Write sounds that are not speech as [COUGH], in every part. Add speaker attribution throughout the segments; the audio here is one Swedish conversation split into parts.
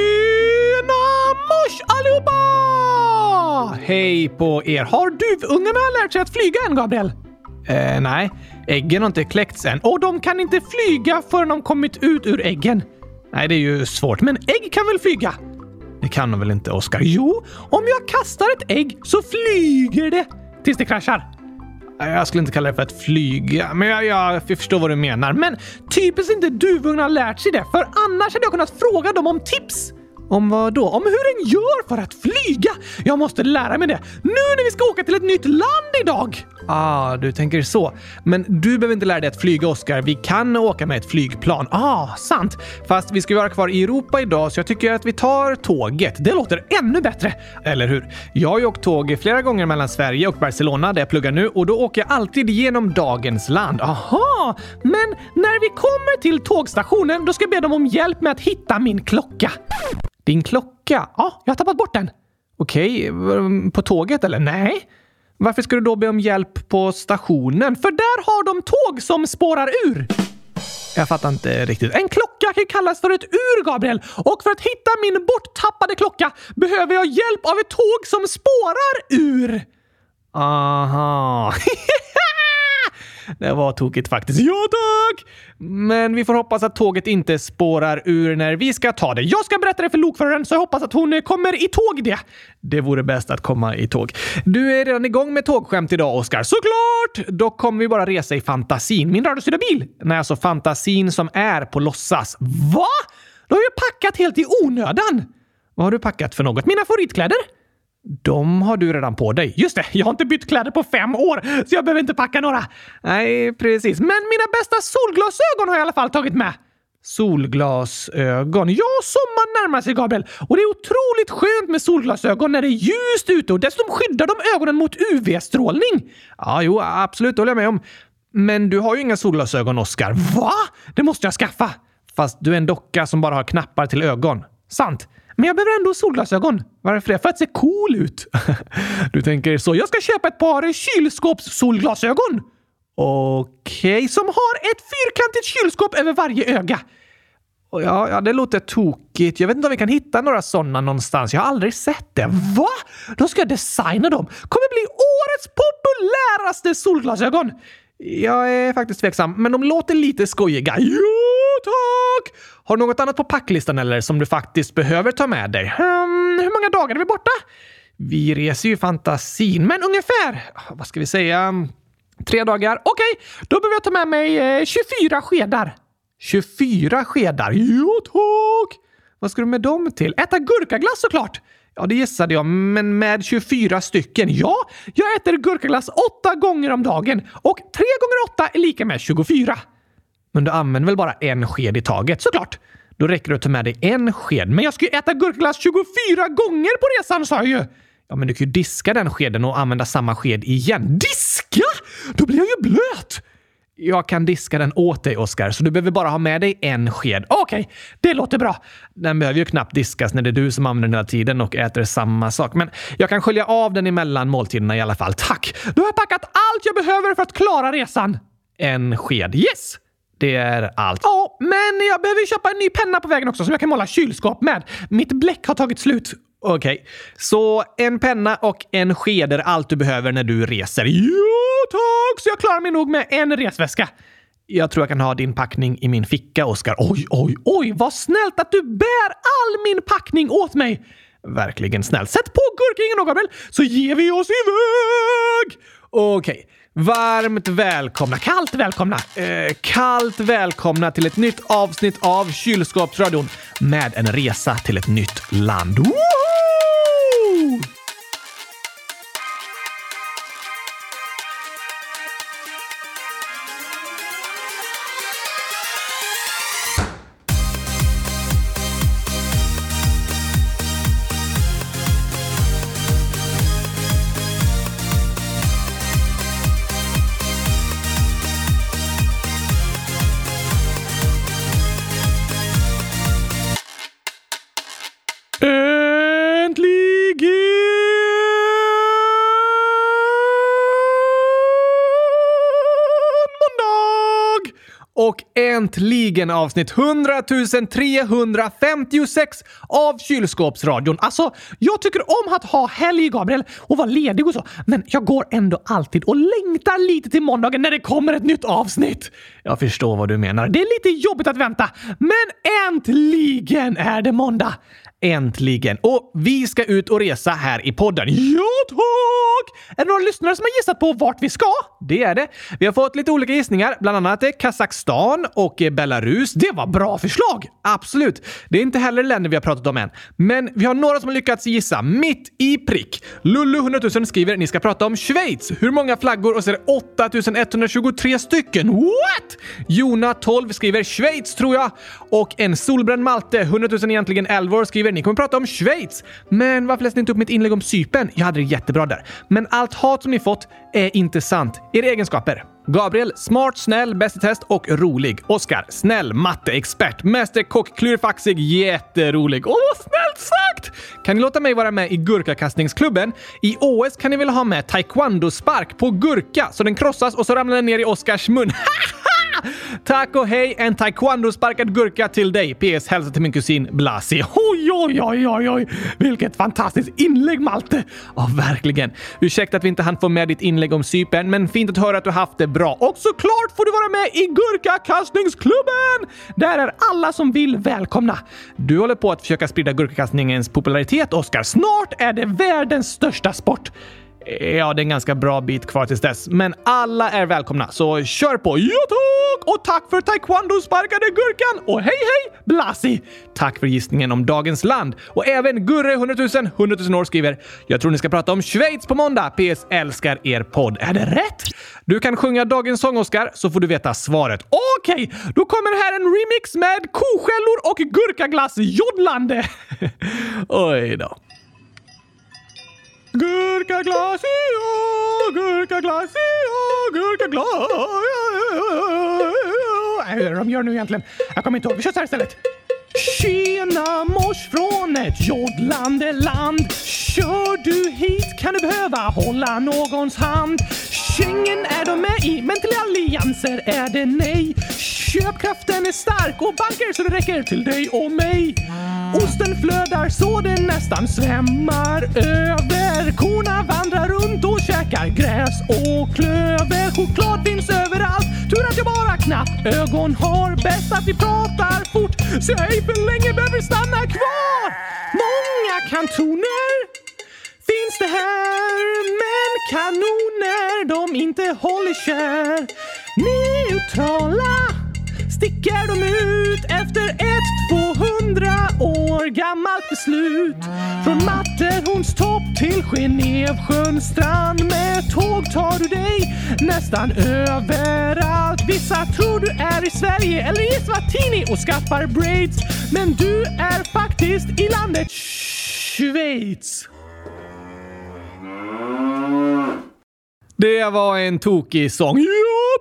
Speaker 1: Tjena mors allihopa! Hej på er! Har duvungarna lärt sig att flyga än, Gabriel? Eh, nej, äggen har inte kläckts än och de kan inte flyga förrän de kommit ut ur äggen. Nej, det är ju svårt, men ägg kan väl flyga? Det kan de väl inte, Oskar? Jo, om jag kastar ett ägg så flyger det tills det kraschar. Jag skulle inte kalla det för att flyga, men jag, jag, jag förstår vad du menar. Men typiskt inte duvungarna har lärt sig det, för annars hade jag kunnat fråga dem om tips. Om vad då? Om hur en gör för att flyga! Jag måste lära mig det nu när vi ska åka till ett nytt land idag! Ah, du tänker så. Men du behöver inte lära dig att flyga, Oskar. Vi kan åka med ett flygplan. Ah, sant. Fast vi ska ju vara kvar i Europa idag, så jag tycker att vi tar tåget. Det låter ännu bättre, eller hur? Jag har ju åkt tåg flera gånger mellan Sverige och Barcelona, där jag pluggar nu, och då åker jag alltid genom dagens land. Aha! Men när vi kommer till tågstationen, då ska jag be dem om hjälp med att hitta min klocka. Din klocka? Ja, jag har tappat bort den. Okej, på tåget eller? Nej. Varför ska du då be om hjälp på stationen? För där har de tåg som spårar ur! Jag fattar inte riktigt. En klocka kan ju kallas för ett ur, Gabriel. Och för att hitta min borttappade klocka behöver jag hjälp av ett tåg som spårar ur. Aha. [LAUGHS] Det var tokigt faktiskt. Ja tack! Men vi får hoppas att tåget inte spårar ur när vi ska ta det. Jag ska berätta det för lokföraren så jag hoppas att hon kommer i tåg det. Det vore bäst att komma i tåg. Du är redan igång med tågskämt idag, Oskar. Såklart! Dock kommer vi bara resa i fantasin. Min radiostyrda bil? Nej, alltså fantasin som är på låtsas. Va? Du har ju packat helt i onödan! Vad har du packat för något? Mina favoritkläder? De har du redan på dig. Just det, jag har inte bytt kläder på fem år, så jag behöver inte packa några. Nej, precis. Men mina bästa solglasögon har jag i alla fall tagit med. Solglasögon. Ja, sommaren närmar sig, Gabriel. Och det är otroligt skönt med solglasögon när det är ljust ute och dessutom skyddar de ögonen mot UV-strålning. Ja, jo, absolut, det håller jag med om. Men du har ju inga solglasögon, Oskar. Va? Det måste jag skaffa. Fast du är en docka som bara har knappar till ögon. Sant. Men jag behöver ändå solglasögon. Varför det? För att se cool ut. [LAUGHS] Du tänker så. Jag ska köpa ett par kylskåpssolglasögon. Okej, okay. som har ett fyrkantigt kylskåp över varje öga. Ja, ja, det låter tokigt. Jag vet inte om vi kan hitta några sådana någonstans. Jag har aldrig sett det. Va? Då ska jag designa dem. Kommer bli årets populäraste solglasögon. Jag är faktiskt tveksam, men de låter lite skojiga. Jo tack! Har du något annat på packlistan eller som du faktiskt behöver ta med dig? Hmm, hur många dagar är vi borta? Vi reser ju i fantasin, men ungefär, ah, vad ska vi säga, tre dagar. Okej, okay, då behöver jag ta med mig 24 skedar. 24 skedar? Jo tack! Vad ska du med dem till? Äta gurkaglass såklart! Ja, det gissade jag, men med 24 stycken. Ja, jag äter gurkaglass åtta gånger om dagen och tre gånger åtta är lika med 24. Men du använder väl bara en sked i taget, såklart? Då räcker det att ta med dig en sked. Men jag ska ju äta gurkaglass 24 gånger på resan, sa jag ju! Ja, men du kan ju diska den skeden och använda samma sked igen. Diska? Då blir jag ju blöt! Jag kan diska den åt dig, Oskar, så du behöver bara ha med dig en sked. Okej, okay, det låter bra. Den behöver ju knappt diskas när det är du som använder den hela tiden och äter samma sak. Men jag kan skölja av den emellan måltiderna i alla fall. Tack! Då har jag packat allt jag behöver för att klara resan. En sked. Yes! Det är allt. Ja, men jag behöver köpa en ny penna på vägen också som jag kan måla kylskåp med. Mitt bläck har tagit slut. Okej, okay. så en penna och en sked är allt du behöver när du reser. Jo tack, så jag klarar mig nog med en resväska. Jag tror jag kan ha din packning i min ficka, Oskar. Oj, oj, oj, vad snällt att du bär all min packning åt mig! Verkligen snällt. Sätt på gurkingen då, Gabriel, så ger vi oss iväg! Okej. Okay. Varmt välkomna, kallt välkomna, eh, kallt välkomna till ett nytt avsnitt av Kylskåpsradion med en resa till ett nytt land. Woho! och äntligen avsnitt 100 356 av Kylskåpsradion. Alltså, jag tycker om att ha helg, Gabriel, och vara ledig och så, men jag går ändå alltid och längtar lite till måndagen när det kommer ett nytt avsnitt. Jag förstår vad du menar. Det är lite jobbigt att vänta, men äntligen är det måndag! Äntligen! Och vi ska ut och resa här i podden. Ja, tack! Är det några lyssnare som har gissat på vart vi ska? Det är det. Vi har fått lite olika gissningar, bland annat eh, Kazakstan och eh, Belarus. Det var bra förslag! Absolut. Det är inte heller länder vi har pratat om än. Men vi har några som har lyckats gissa mitt i prick. Lullu 100 000 skriver ni ska prata om Schweiz. Hur många flaggor? Och så är det 8123 stycken. What? Jona 12 skriver Schweiz tror jag. Och en solbränd Malte, 100 000 egentligen 11 år, skriver ni kommer prata om Schweiz. Men varför läste ni inte upp mitt inlägg om Cypern? Jag hade det jättebra där. Men allt hat som ni fått är inte sant. Era egenskaper. Gabriel, smart, snäll, bäst i test och rolig. Oskar, snäll, matteexpert, mästerkock, klurifaxig, jätterolig. Åh, vad snällt sagt! Kan ni låta mig vara med i gurkakastningsklubben? I OS kan ni väl ha med taekwondo-spark på gurka så den krossas och så ramlar den ner i Oskars mun. Tack och hej! En taekwondo-sparkad gurka till dig. PS. Hälsa till min kusin Blasi. Oj, oj, oj, oj, oj! Vilket fantastiskt inlägg, Malte! Ja, verkligen. Ursäkta att vi inte hann få med ditt inlägg om Cypern, men fint att höra att du haft det bra. Och såklart får du vara med i Gurkakastningsklubben! Där är alla som vill välkomna. Du håller på att försöka sprida gurkakastningens popularitet, Oskar. Snart är det världens största sport. Ja, det är en ganska bra bit kvar tills dess, men alla är välkomna, så kör på! Youtube! Och tack för taekwondo-sparkade gurkan! Och hej hej, Blasi! Tack för gissningen om dagens land. Och även Gurre 100 000, 100 000 år skriver “Jag tror ni ska prata om Schweiz på måndag. PS. Älskar er podd.” Är det rätt? Du kan sjunga dagens sång, Oskar, så får du veta svaret. Okej, då kommer här en remix med koskällor och gurkaglass-jodlande! [LAUGHS] Oj då. Gurkaglass, ja, gurkaglass, ja, gurkaglass. Vad är det de gör nu egentligen? Jag kommer inte ihåg. Vi kör så här istället. Tjena mors från ett jodlande land. Kör du hit kan du behöva hålla någons hand. Schengen är de med i, men till allianser är det nej. Köpkraften är stark och banker så det räcker till dig och mig. Osten flödar så det nästan svämmar över. Korna vandrar runt och käkar gräs och klöver. Choklad finns överallt. Tur att jag bara knappt ögon har. Bäst att vi pratar fort så jag ej för länge behöver stanna kvar. Många kantoner finns det här Men kanoner de inte håller kär Neutrala sticker de ut efter ett 200 år gammalt beslut Från Matterhorns topp till Genevsjöns strand Med tåg tar du dig nästan överallt Vissa tror du är i Sverige eller i Svatini och skaffar braids Men du är faktiskt i landet Schweiz Det var en tokig sång. Ja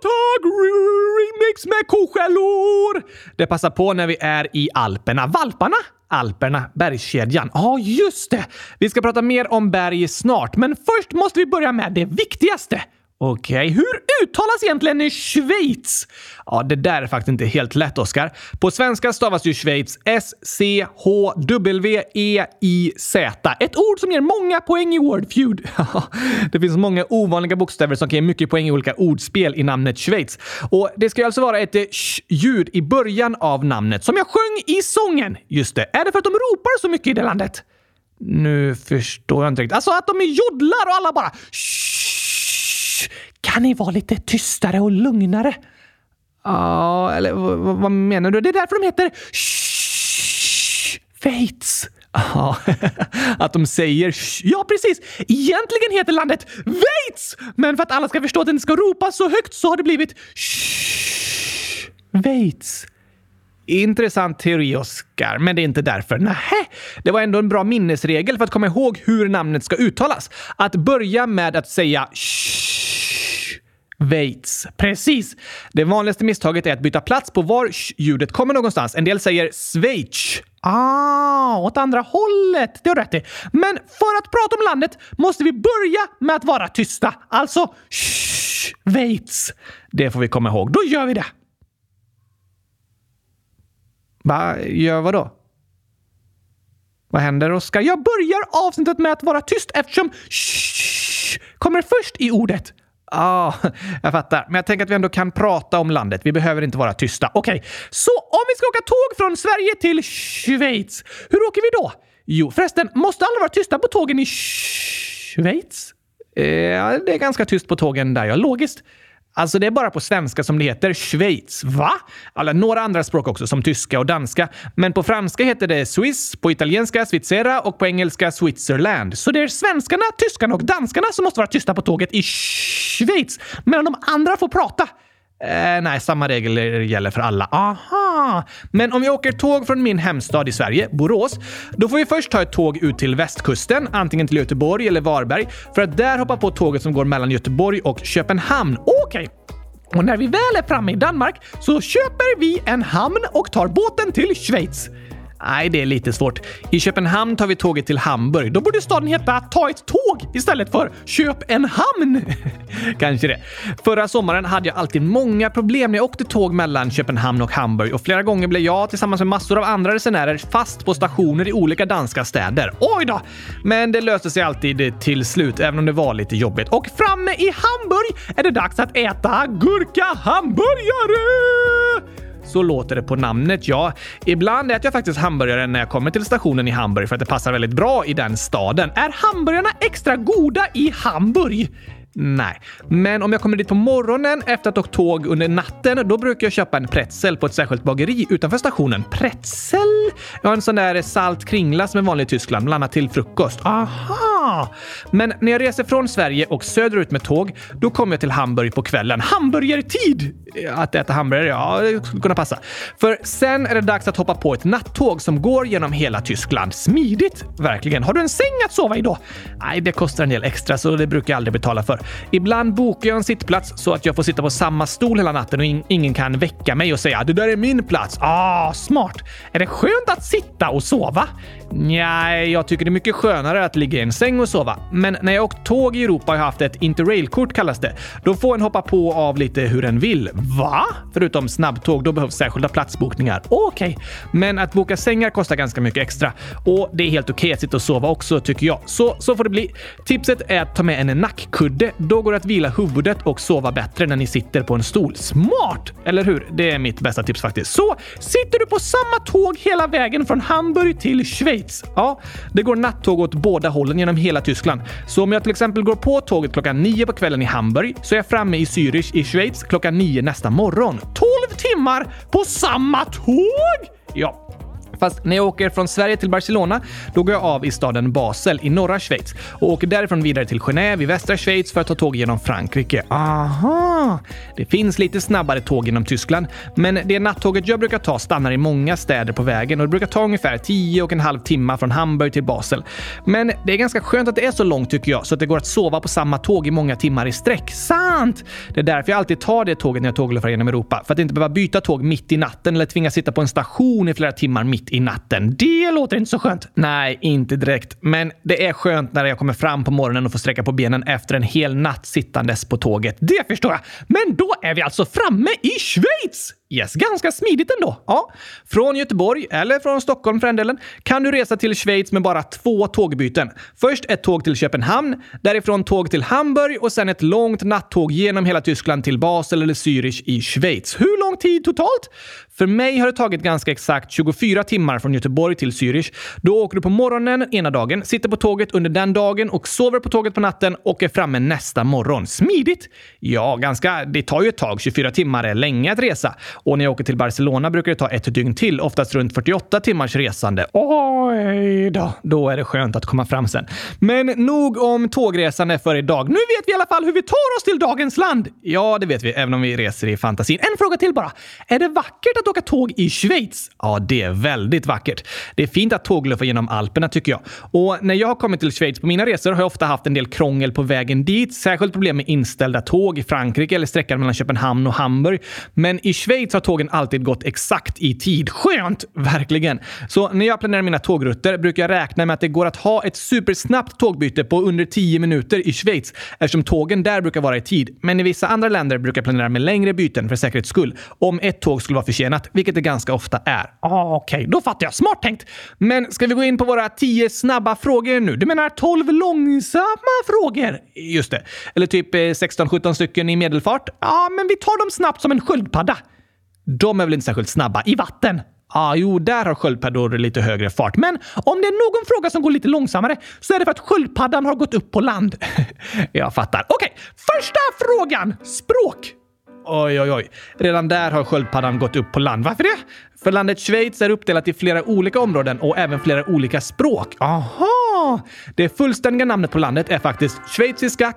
Speaker 1: tack! Remix med kokällor! Det passar på när vi är i Alperna. Valparna? Alperna, bergskedjan. Ja, just det! Vi ska prata mer om berg snart, men först måste vi börja med det viktigaste. Okej, hur uttalas egentligen Schweiz? Ja, det där är faktiskt inte helt lätt, Oskar. På svenska stavas ju Schweiz S-C-H-W-E-I-Z. E Ett ord som ger många poäng i Wordfeud. [LAUGHS] det finns många ovanliga bokstäver som kan ge mycket poäng i olika ordspel i namnet Schweiz. Och det ska ju alltså vara ett eh, sh-ljud i början av namnet, som jag sjöng i sången. Just det. Är det för att de ropar så mycket i det landet? Nu förstår jag inte riktigt. Alltså att de är jodlar och alla bara Shh! Kan ni vara lite tystare och lugnare? Ja, eller v- v- vad menar du? Det är därför de heter Shh! Schweiz. Ja, [LAUGHS] att de säger sh- Ja, precis! Egentligen heter landet Schweiz! Men för att alla ska förstå att det inte ska ropas så högt så har det blivit sh- Schweiz. Intressant teori, Oskar, men det är inte därför. Nähä, det var ändå en bra minnesregel för att komma ihåg hur namnet ska uttalas. Att börja med att säga sh- Waits. Precis! Det vanligaste misstaget är att byta plats på var sh- ljudet kommer någonstans. En del säger Schweiz. Ah, åt andra hållet. Det har du rätt i. Men för att prata om landet måste vi börja med att vara tysta. Alltså Schweiz. Det får vi komma ihåg. Då gör vi det. Va, gör vad då? Vad händer, Oskar? Jag börjar avsnittet med att vara tyst eftersom shh kommer först i ordet. Ja, ah, jag fattar. Men jag tänker att vi ändå kan prata om landet. Vi behöver inte vara tysta. Okej, så om vi ska åka tåg från Sverige till Schweiz, hur åker vi då? Jo, förresten, måste alla vara tysta på tågen i Schweiz? Eh, ja, det är ganska tyst på tågen där, ja. Logiskt. Alltså det är bara på svenska som det heter Schweiz. Va? Alla några andra språk också, som tyska och danska. Men på franska heter det Swiss, på italienska Svizzera och på engelska Switzerland. Så det är svenskarna, tyskarna och danskarna som måste vara tysta på tåget i Schweiz, medan de andra får prata. Eh, nej, samma regler gäller för alla. Aha! Men om jag åker tåg från min hemstad i Sverige, Borås, då får vi först ta ett tåg ut till västkusten, antingen till Göteborg eller Varberg, för att där hoppa på tåget som går mellan Göteborg och Köpenhamn. Okej! Och när vi väl är framme i Danmark så köper vi en hamn och tar båten till Schweiz. Nej, det är lite svårt. I Köpenhamn tar vi tåget till Hamburg. Då borde staden heta Ta ett tåg istället för Köp en hamn. [LAUGHS] Kanske det. Förra sommaren hade jag alltid många problem när jag åkte tåg mellan Köpenhamn och Hamburg och flera gånger blev jag tillsammans med massor av andra resenärer fast på stationer i olika danska städer. Oj då! Men det löste sig alltid till slut, även om det var lite jobbigt. Och framme i Hamburg är det dags att äta gurka-hamburgare! Så låter det på namnet, ja. Ibland äter jag faktiskt hamburgare när jag kommer till stationen i Hamburg för att det passar väldigt bra i den staden. Är hamburgarna extra goda i Hamburg? Nej, men om jag kommer dit på morgonen efter att ha åkt tåg under natten, då brukar jag köpa en pretzel på ett särskilt bageri utanför stationen. Pretzel? Jag har en sån där salt kringla som är vanlig i Tyskland, bland annat till frukost. Aha! Men när jag reser från Sverige och söderut med tåg, då kommer jag till Hamburg på kvällen. Hamburgertid! Att äta hamburgare, ja, det skulle kunna passa. För sen är det dags att hoppa på ett nattåg som går genom hela Tyskland. Smidigt, verkligen. Har du en säng att sova i då? Nej, det kostar en del extra, så det brukar jag aldrig betala för. Ibland bokar jag en sittplats så att jag får sitta på samma stol hela natten och in- ingen kan väcka mig och säga “det där är min plats”. Ah, smart! Är det skönt att sitta och sova? Nej, jag tycker det är mycket skönare att ligga i en säng och sova. Men när jag åkt tåg i Europa har jag haft ett interrailkort kallas det. Då får en hoppa på och av lite hur en vill. Va? Förutom snabbtåg, då behövs särskilda platsbokningar. Okej. Men att boka sängar kostar ganska mycket extra. Och det är helt okej att sitta och sova också tycker jag. Så, så får det bli. Tipset är att ta med en nackkudde. Då går det att vila huvudet och sova bättre när ni sitter på en stol. Smart! Eller hur? Det är mitt bästa tips faktiskt. Så sitter du på samma tåg hela vägen från Hamburg till Schweiz? Ja, det går nattåg åt båda hållen genom hela Tyskland. Så om jag till exempel går på tåget klockan nio på kvällen i Hamburg så är jag framme i Zürich i Schweiz klockan nio nästa morgon. 12 timmar på samma tåg! Ja, Fast när jag åker från Sverige till Barcelona, då går jag av i staden Basel i norra Schweiz och åker därifrån vidare till Genève i västra Schweiz för att ta tåg genom Frankrike. Aha! Det finns lite snabbare tåg genom Tyskland, men det nattåget jag brukar ta stannar i många städer på vägen och det brukar ta ungefär 10 och en halv timme från Hamburg till Basel. Men det är ganska skönt att det är så långt tycker jag, så att det går att sova på samma tåg i många timmar i sträck. Sant! Det är därför jag alltid tar det tåget när jag tågluffar genom Europa, för att inte behöva byta tåg mitt i natten eller tvingas sitta på en station i flera timmar mitt i natten. Det låter inte så skönt. Nej, inte direkt. Men det är skönt när jag kommer fram på morgonen och får sträcka på benen efter en hel natt sittandes på tåget. Det förstår jag. Men då är vi alltså framme i Schweiz! Yes, ganska smidigt ändå. Ja. Från Göteborg, eller från Stockholm för den delen, kan du resa till Schweiz med bara två tågbyten. Först ett tåg till Köpenhamn, därifrån tåg till Hamburg och sen ett långt nattåg genom hela Tyskland till Basel eller Zürich i Schweiz. Hur lång tid totalt? För mig har det tagit ganska exakt 24 timmar från Göteborg till Zürich. Då åker du på morgonen ena dagen, sitter på tåget under den dagen och sover på tåget på natten och är framme nästa morgon. Smidigt! Ja, ganska. Det tar ju ett tag. 24 timmar är länge att resa. Och när jag åker till Barcelona brukar det ta ett dygn till, oftast runt 48 timmars resande. Oj då! Då är det skönt att komma fram sen. Men nog om tågresande för idag. Nu vet vi i alla fall hur vi tar oss till dagens land! Ja, det vet vi, även om vi reser i fantasin. En fråga till bara. Är det vackert att åka tåg i Schweiz? Ja, det är väldigt vackert. Det är fint att tågluffa genom Alperna tycker jag. Och när jag har kommit till Schweiz på mina resor har jag ofta haft en del krångel på vägen dit, särskilt problem med inställda tåg i Frankrike eller sträckan mellan Köpenhamn och Hamburg. Men i Schweiz Schweiz har tågen alltid gått exakt i tid. Skönt! Verkligen. Så när jag planerar mina tågrutter brukar jag räkna med att det går att ha ett supersnabbt tågbyte på under 10 minuter i Schweiz eftersom tågen där brukar vara i tid. Men i vissa andra länder brukar jag planera med längre byten för säkerhets skull om ett tåg skulle vara försenat, vilket det ganska ofta är. Ah, Okej, då fattar jag. Smart tänkt! Men ska vi gå in på våra 10 snabba frågor nu? Du menar 12 långsamma frågor? Just det. Eller typ eh, 16-17 stycken i medelfart? Ja, men vi tar dem snabbt som en sköldpadda. De är väl inte särskilt snabba i vatten? Ah, jo, där har sköldpaddor lite högre fart. Men om det är någon fråga som går lite långsammare så är det för att sköldpaddan har gått upp på land. [LAUGHS] Jag fattar. Okej, första frågan! Språk. Oj, oj, oj. Redan där har sköldpaddan gått upp på land. Varför det? För landet Schweiz är uppdelat i flera olika områden och även flera olika språk. Aha! Det fullständiga namnet på landet är faktiskt Schweiziska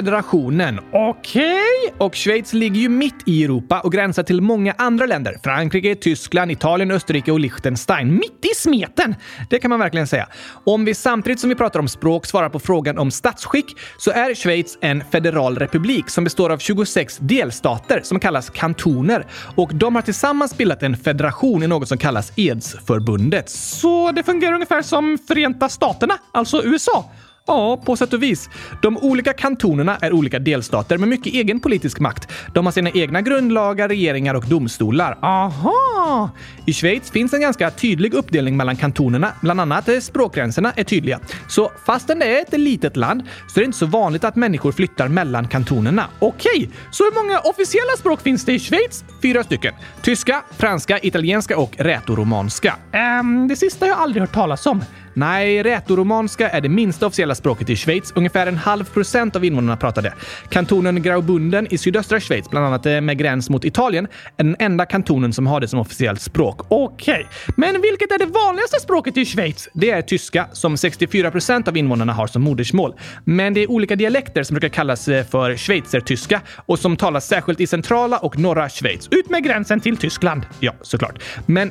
Speaker 1: konfederationen. Okej! Och Schweiz ligger ju mitt i Europa och gränsar till många andra länder. Frankrike, Tyskland, Italien, Österrike och Liechtenstein. Mitt i smeten! Det kan man verkligen säga. Om vi samtidigt som vi pratar om språk svarar på frågan om statsskick så är Schweiz en federal republik som består av 26 delstater som kallas kantoner och de har tillsammans bildat en federation i något som kallas Edsförbundet. Så det fungerar ungefär som Förenta Staterna, alltså USA. Ja, på sätt och vis. De olika kantonerna är olika delstater med mycket egen politisk makt. De har sina egna grundlagar, regeringar och domstolar. Aha! I Schweiz finns en ganska tydlig uppdelning mellan kantonerna, bland annat eh, språkgränserna är tydliga. Så fastän det är ett litet land så är det inte så vanligt att människor flyttar mellan kantonerna. Okej, så hur många officiella språk finns det i Schweiz? Fyra stycken. Tyska, franska, italienska och rätoromanska. Ehm, det sista har jag aldrig hört talas om. Nej, rätoromanska är det minsta officiella språket i Schweiz. Ungefär en halv procent av invånarna pratar det. Kantonen Graubunden i sydöstra Schweiz, bland annat eh, med gräns mot Italien, är den enda kantonen som har det som officiellt språk. Okej, men vilket är det vanligaste språket i Schweiz? Det är tyska, som 64 procent av invånarna har som modersmål. Men det är olika dialekter som brukar kallas eh, för schweizertyska och som talas särskilt i centrala och norra Schweiz. Ut med gränsen till Tyskland! Ja, såklart. Men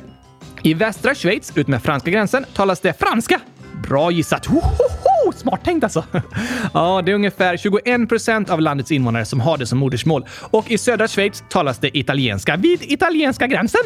Speaker 1: i västra Schweiz, utmed franska gränsen, talas det franska. Bra gissat! Hohoho! Smart tänkt alltså! [LAUGHS] Ja, det är ungefär 21 procent av landets invånare som har det som modersmål. Och i södra Schweiz talas det italienska vid italienska gränsen.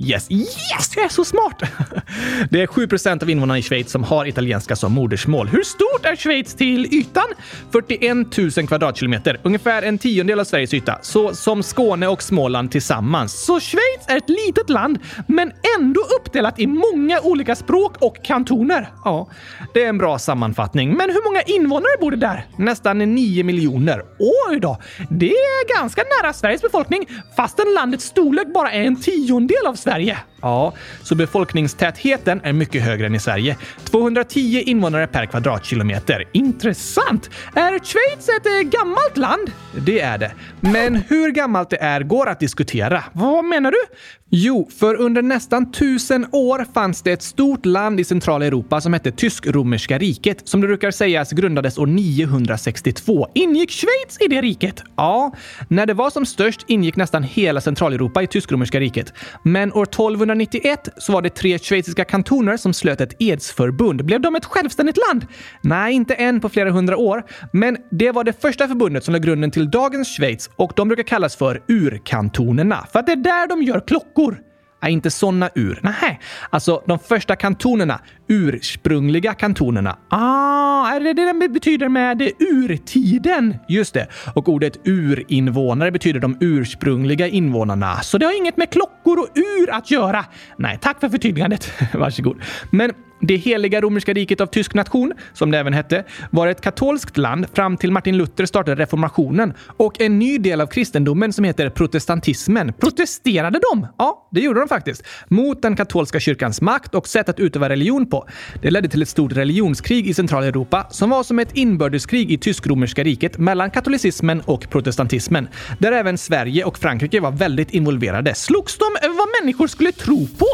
Speaker 1: Yes, yes! Jag är så smart! [LAUGHS] Det är 7 procent av invånarna i Schweiz som har italienska som modersmål. Hur stort är Schweiz till ytan? 41 000 kvadratkilometer, ungefär en tiondel av Sveriges yta. Så som Skåne och Småland tillsammans. Så Schweiz är ett litet land, men ändå uppdelat i många olika språk och kantoner. Ja, det är en bra sammanfattning. Men hur många invånare bor det där? Nästan 9 miljoner. Oj då! Det är ganska nära Sveriges befolkning, fastän landets storlek bara är en tiondel av Sverige. Ja, så befolkningstätheten är mycket högre än i Sverige. 210 invånare per kvadratkilometer. Intressant! Är Schweiz ett eh, gammalt land? Det är det. Men hur gammalt det är går att diskutera. Vad menar du? Jo, för under nästan tusen år fanns det ett stort land i centrala Europa som hette Tysk-romerska riket, som det brukar sägas grundades år 962. Ingick Schweiz i det riket? Ja, när det var som störst ingick nästan hela Centraleuropa i Tysk-romerska riket. Men år 1291 så var det tre schweiziska kantoner som slöt ett edsförbund. Blev de ett självständigt land? Nej, inte än på flera hundra år. Men det var det första förbundet som la grunden till dagens Schweiz och de brukar kallas för urkantonerna, för att det är där de gör klockor. Nej, inte såna ur. Nej, alltså de första kantonerna. Ursprungliga kantonerna. Ah, är det det det betyder med urtiden? Just det. Och ordet urinvånare betyder de ursprungliga invånarna. Så det har inget med klockor och ur att göra. Nej, tack för förtydligandet. [LAUGHS] Varsågod. Men det heliga romerska riket av tysk nation, som det även hette, var ett katolskt land fram till Martin Luther startade reformationen och en ny del av kristendomen som heter protestantismen. Protesterade de? Ja, det gjorde de faktiskt. Mot den katolska kyrkans makt och sätt att utöva religion på. Det ledde till ett stort religionskrig i Centraleuropa som var som ett inbördeskrig i tysk-romerska riket mellan katolicismen och protestantismen. Där även Sverige och Frankrike var väldigt involverade. Slogs de över vad människor skulle tro på?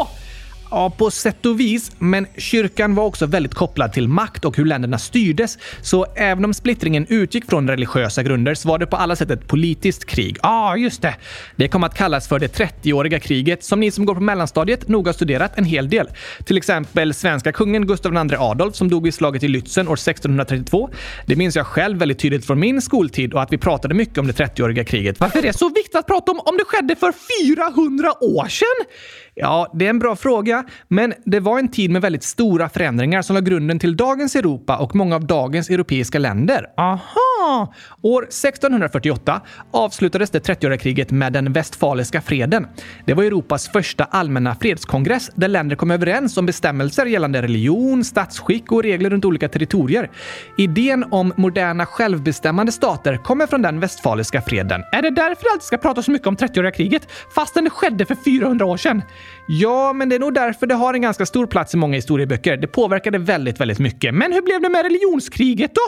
Speaker 1: Ja, på sätt och vis, men kyrkan var också väldigt kopplad till makt och hur länderna styrdes. Så även om splittringen utgick från religiösa grunder så var det på alla sätt ett politiskt krig. Ja, ah, just det. Det kom att kallas för det 30-åriga kriget som ni som går på mellanstadiet nog har studerat en hel del. Till exempel svenska kungen Gustav II Adolf som dog i slaget i Lützen år 1632. Det minns jag själv väldigt tydligt från min skoltid och att vi pratade mycket om det 30-åriga kriget. Varför är det så viktigt att prata om om det skedde för 400 år sedan? Ja, det är en bra fråga, men det var en tid med väldigt stora förändringar som la grunden till dagens Europa och många av dagens europeiska länder. Aha! År 1648 avslutades det 30-åriga kriget med den västfaliska freden. Det var Europas första allmänna fredskongress där länder kom överens om bestämmelser gällande religion, statsskick och regler runt olika territorier. Idén om moderna självbestämmande stater kommer från den västfaliska freden. Är det därför det alltid ska prata så mycket om 30-åriga kriget fastän det skedde för 400 år sedan? Ja, men det är nog därför det har en ganska stor plats i många historieböcker. Det påverkade väldigt, väldigt mycket. Men hur blev det med religionskriget då?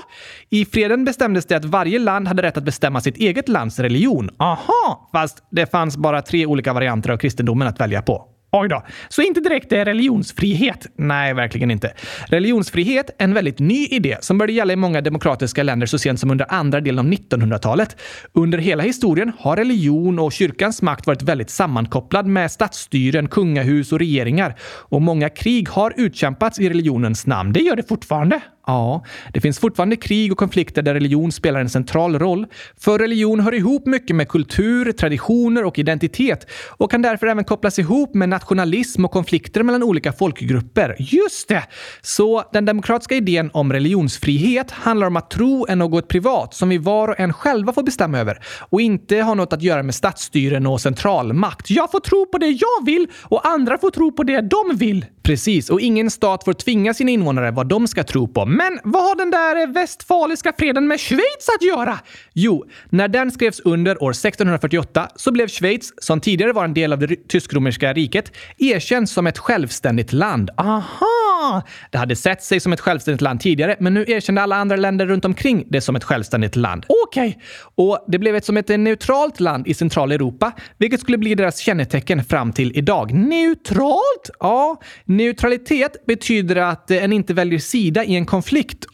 Speaker 1: I freden bestämdes det att varje land hade rätt att bestämma sitt eget lands religion. Aha! Fast det fanns bara tre olika varianter av kristendomen att välja på. Oj då. Så inte direkt är religionsfrihet. Nej, verkligen inte. Religionsfrihet är en väldigt ny idé som började gälla i många demokratiska länder så sent som under andra delen av 1900-talet. Under hela historien har religion och kyrkans makt varit väldigt sammankopplad med statsstyren, kungahus och regeringar. Och många krig har utkämpats i religionens namn. Det gör det fortfarande. Ja, det finns fortfarande krig och konflikter där religion spelar en central roll. För religion hör ihop mycket med kultur, traditioner och identitet och kan därför även kopplas ihop med nationalism och konflikter mellan olika folkgrupper. Just det! Så den demokratiska idén om religionsfrihet handlar om att tro är något privat som vi var och en själva får bestämma över och inte har något att göra med statsstyren och centralmakt. Jag får tro på det jag vill och andra får tro på det de vill. Precis, och ingen stat får tvinga sina invånare vad de ska tro på. Men vad har den där eh, västfaliska freden med Schweiz att göra? Jo, när den skrevs under år 1648 så blev Schweiz, som tidigare var en del av det tysk-romerska riket, erkänt som ett självständigt land. Aha! Det hade sett sig som ett självständigt land tidigare, men nu erkände alla andra länder runt omkring det som ett självständigt land. Okej! Och det blev ett som ett neutralt land i Centraleuropa, vilket skulle bli deras kännetecken fram till idag. Neutralt? Ja, neutralitet betyder att en inte väljer sida i en konflikt.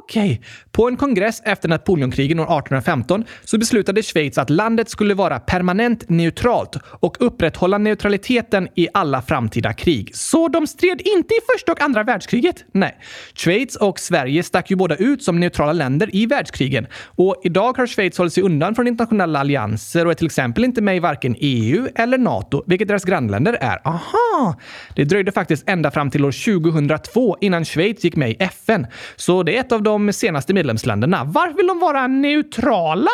Speaker 1: Okej. På en kongress efter Napoleonkrigen år 1815 så beslutade Schweiz att landet skulle vara permanent neutralt och upprätthålla neutraliteten i alla framtida krig. Så de stred inte i första och andra världskriget? Nej. Schweiz och Sverige stack ju båda ut som neutrala länder i världskrigen och idag har Schweiz hållit sig undan från internationella allianser och är till exempel inte med i varken EU eller NATO, vilket deras grannländer är. Aha! Det dröjde faktiskt ända fram till år 2002 innan Schweiz gick med i FN, så det är ett av de senaste medlemsländerna. Varför vill de vara neutrala?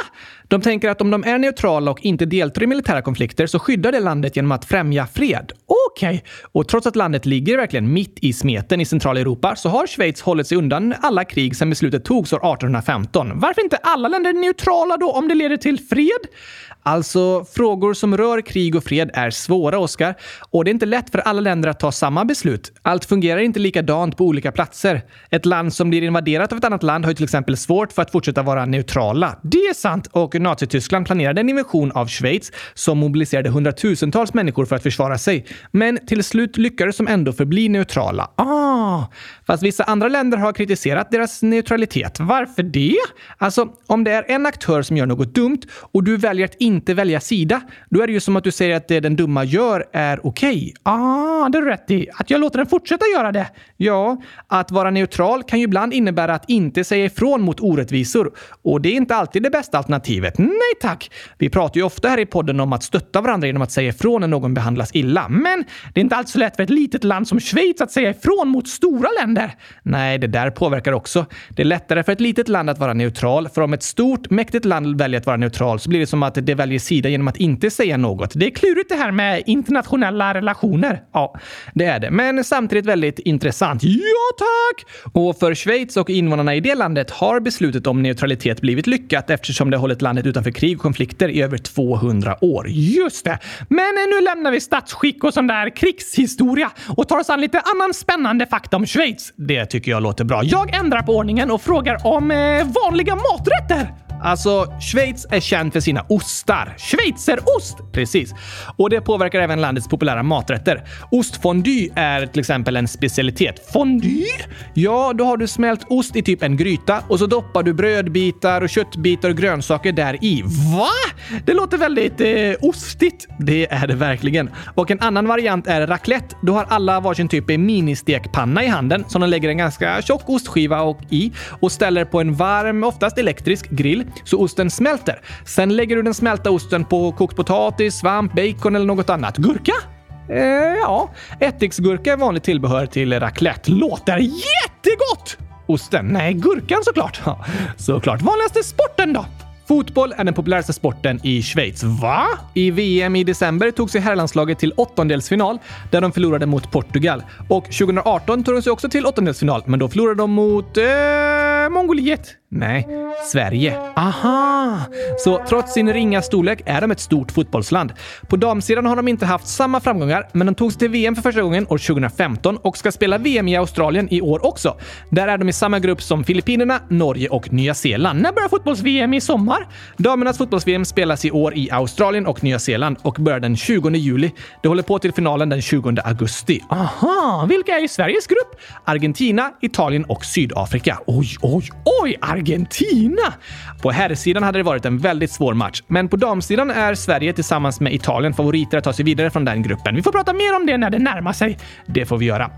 Speaker 1: De tänker att om de är neutrala och inte deltar i militära konflikter så skyddar det landet genom att främja fred. Okej! Och trots att landet ligger verkligen mitt i smeten i centrala Europa så har Schweiz hållit sig undan alla krig sedan beslutet togs år 1815. Varför inte alla länder neutrala då om det leder till fred? Alltså, frågor som rör krig och fred är svåra, Oskar. Och det är inte lätt för alla länder att ta samma beslut. Allt fungerar inte likadant på olika platser. Ett land som blir invaderat av ett annat land har ju till exempel svårt för att fortsätta vara neutrala. Det är sant! Och Nazityskland planerade en invasion av Schweiz som mobiliserade hundratusentals människor för att försvara sig. Men till slut lyckades de ändå förbli neutrala. Ah! Fast vissa andra länder har kritiserat deras neutralitet. Varför det? Alltså, om det är en aktör som gör något dumt och du väljer att inte välja sida, då är det ju som att du säger att det den dumma gör är okej. Ah, det är rätt i. Att jag låter den fortsätta göra det. Ja, att vara neutral kan ju ibland innebära att inte säga ifrån mot orättvisor. Och det är inte alltid det bästa alternativet. Nej tack! Vi pratar ju ofta här i podden om att stötta varandra genom att säga ifrån när någon behandlas illa. Men det är inte alls så lätt för ett litet land som Schweiz att säga ifrån mot stora länder. Nej, det där påverkar också. Det är lättare för ett litet land att vara neutral, för om ett stort, mäktigt land väljer att vara neutral så blir det som att det väljer sida genom att inte säga något. Det är klurigt det här med internationella relationer. Ja, det är det. Men samtidigt väldigt intressant. Ja, tack! Och för Schweiz och invånarna i det landet har beslutet om neutralitet blivit lyckat eftersom det har hållit landet utanför krig och konflikter i över 200 år. Just det! Men eh, nu lämnar vi statsskick och sån där krigshistoria och tar oss an lite annan spännande fakta om Schweiz. Det tycker jag låter bra. Jag ändrar på ordningen och frågar om eh, vanliga maträtter. Alltså, Schweiz är känd för sina ostar. Schweizerost! Precis. Och det påverkar även landets populära maträtter. Ostfondue är till exempel en specialitet. Fondue? Ja, då har du smält ost i typ en gryta och så doppar du brödbitar och köttbitar och grönsaker där i. Va? Det låter väldigt eh, ostigt. Det är det verkligen. Och en annan variant är raclette. Då har alla varsin typ av ministekpanna i handen som de lägger en ganska tjock ostskiva och i och ställer på en varm, oftast elektrisk grill så osten smälter. Sen lägger du den smälta osten på kokt potatis, svamp, bacon eller något annat. Gurka? Eh, ja, ättiksgurka är vanligt tillbehör till raclette. Låter jättegott! Osten? Nej, gurkan såklart. [LAUGHS] Ja, såklart. Vanligaste sporten då? Fotboll är den populäraste sporten i Schweiz. Va? I VM i december tog sig herrlandslaget till åttondelsfinal där de förlorade mot Portugal. Och 2018 tog de sig också till åttondelsfinal, men då förlorade de mot... Eh, Mongoliet? Nej, Sverige. Aha! Så trots sin ringa storlek är de ett stort fotbollsland. På damsidan har de inte haft samma framgångar, men de tog sig till VM för första gången år 2015 och ska spela VM i Australien i år också. Där är de i samma grupp som Filippinerna, Norge och Nya Zeeland. När börjar fotbolls-VM i sommar? Damernas fotbolls-VM spelas i år i Australien och Nya Zeeland och börjar den 20 juli. Det håller på till finalen den 20 augusti. Aha! Vilka är i Sveriges grupp? Argentina, Italien och Sydafrika. Oj, oj, oj! Argentina! På herrsidan hade det varit en väldigt svår match, men på damsidan är Sverige tillsammans med Italien favoriter att ta sig vidare från den gruppen. Vi får prata mer om det när det närmar sig. Det får vi göra.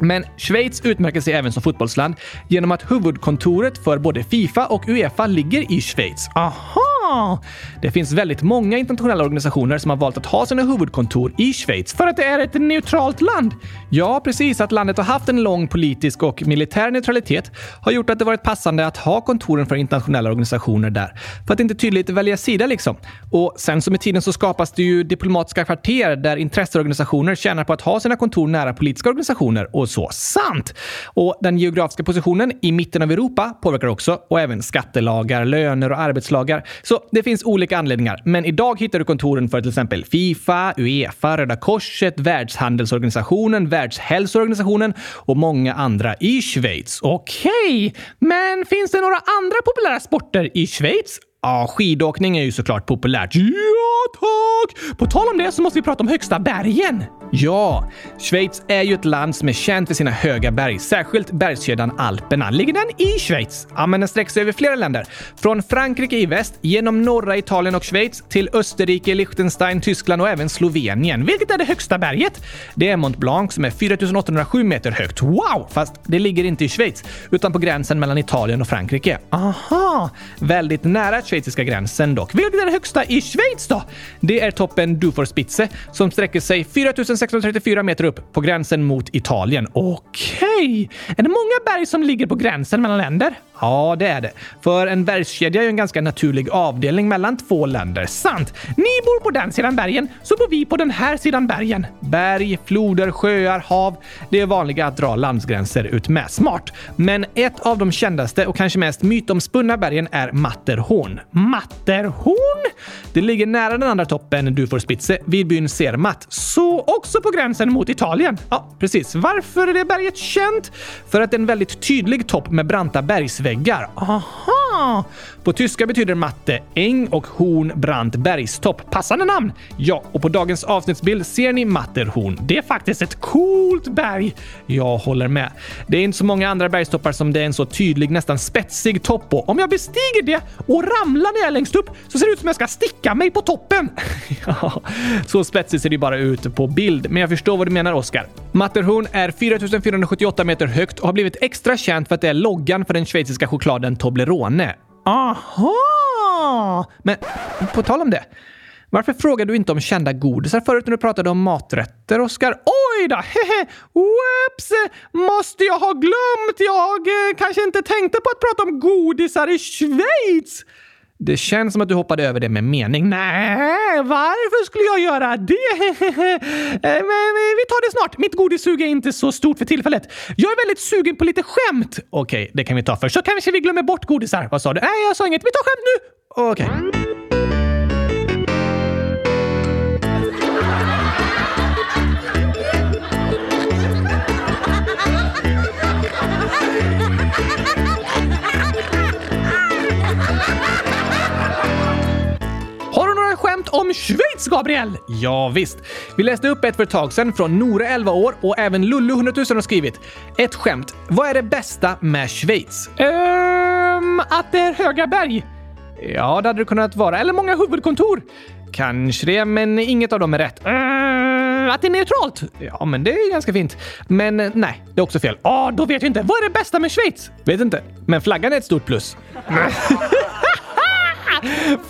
Speaker 1: Men Schweiz utmärker sig även som fotbollsland genom att huvudkontoret för både Fifa och Uefa ligger i Schweiz. Aha! Det finns väldigt många internationella organisationer som har valt att ha sina huvudkontor i Schweiz för att det är ett neutralt land. Ja, precis. Att landet har haft en lång politisk och militär neutralitet har gjort att det varit passande att ha kontoren för internationella organisationer där. För att inte tydligt välja sida liksom. Och sen så med tiden så skapas det ju diplomatiska kvarter där intresseorganisationer tjänar på att ha sina kontor nära politiska organisationer och så. Sant! Och den geografiska positionen i mitten av Europa påverkar också och även skattelagar, löner och arbetslagar. Så det finns olika anledningar. Men idag hittar du kontoren för till exempel Fifa, Uefa, Röda Korset, Världshandelsorganisationen, Världshälsoorganisationen och många andra i Schweiz. Okej, men finns det några andra populära sporter i Schweiz? Ja, skidåkning är ju såklart populärt. Ja, tack! På tal om det så måste vi prata om högsta bergen. Ja, Schweiz är ju ett land som är känt för sina höga berg, särskilt bergskedjan Alperna. Ligger den i Schweiz? Ja, men den sträcker sig över flera länder. Från Frankrike i väst, genom norra Italien och Schweiz, till Österrike, Liechtenstein, Tyskland och även Slovenien. Vilket är det högsta berget? Det är Mont Blanc som är 4807 meter högt. Wow! Fast det ligger inte i Schweiz, utan på gränsen mellan Italien och Frankrike. Aha! Väldigt nära schweiziska gränsen dock. Vilket är det högsta i Schweiz då? Det är toppen Duforspitze som sträcker sig 4634 meter upp på gränsen mot Italien. Okej! Är det många berg som ligger på gränsen mellan länder? Ja, det är det. För en bergskedja är ju en ganska naturlig avdelning mellan två länder. Sant! Ni bor på den sidan bergen, så bor vi på den här sidan bergen. Berg, floder, sjöar, hav. Det är vanliga att dra landsgränser ut med. Smart! Men ett av de kändaste och kanske mest mytomspunna bergen är Matterhorn. Matterhorn? Det ligger nära den andra toppen du får spitse vid byn Zermatt, så också på gränsen mot Italien. Ja, precis. Varför är det berget känt? För att det är en väldigt tydlig topp med branta bergsväggar. Aha! På tyska betyder matte äng och horn brant bergstopp. Passande namn! Ja, och på dagens avsnittsbild ser ni Matterhorn. Det är faktiskt ett coolt berg. Jag håller med. Det är inte så många andra bergstoppar som det är en så tydlig, nästan spetsig topp på. Om jag bestiger det och ramlar när jag är längst upp så ser det ut som jag ska sticka mig på toppen. [LAUGHS] ja, så spetsigt ser det ju bara ut på bild, men jag förstår vad du menar Oskar. Matterhorn är 4478 meter högt och har blivit extra känt för att det är loggan för den schweiziska chokladen Toblerone. Aha! Men på tal om det. Varför frågade du inte om kända godisar förut när du pratade om maträtter, Oskar? Oj då! Hehe! Whoops! Måste jag ha glömt? Jag eh, kanske inte tänkte på att prata om godisar i Schweiz! Det känns som att du hoppade över det med mening. Nej, varför skulle jag göra det? [LAUGHS] Eh, Men eh, vi tar det snart. Mitt godissug är inte så stort för tillfället. Jag är väldigt sugen på lite skämt. Okej, det kan vi ta först. Så kanske vi glömmer bort godisar. Vad sa du? Nej, jag sa inget. Vi tar skämt nu! Okej.
Speaker 2: Ha ha ha!
Speaker 1: om Schweiz, Gabriel! Ja, visst. Vi läste upp ett för ett tag sedan från Nore 11 år och även Lullu 100 000 har skrivit. Ett skämt. Vad är det bästa med Schweiz? Ehm, att det är höga berg. Ja, det hade det kunnat vara. Eller många huvudkontor. Kanske det, men inget av dem är rätt. Mm, att det är neutralt? Ja, men det är ganska fint. Men eh, nej, det är också fel. Ja, då vet jag inte. Vad är det bästa med Schweiz? Vet inte. Men flaggan är ett stort plus.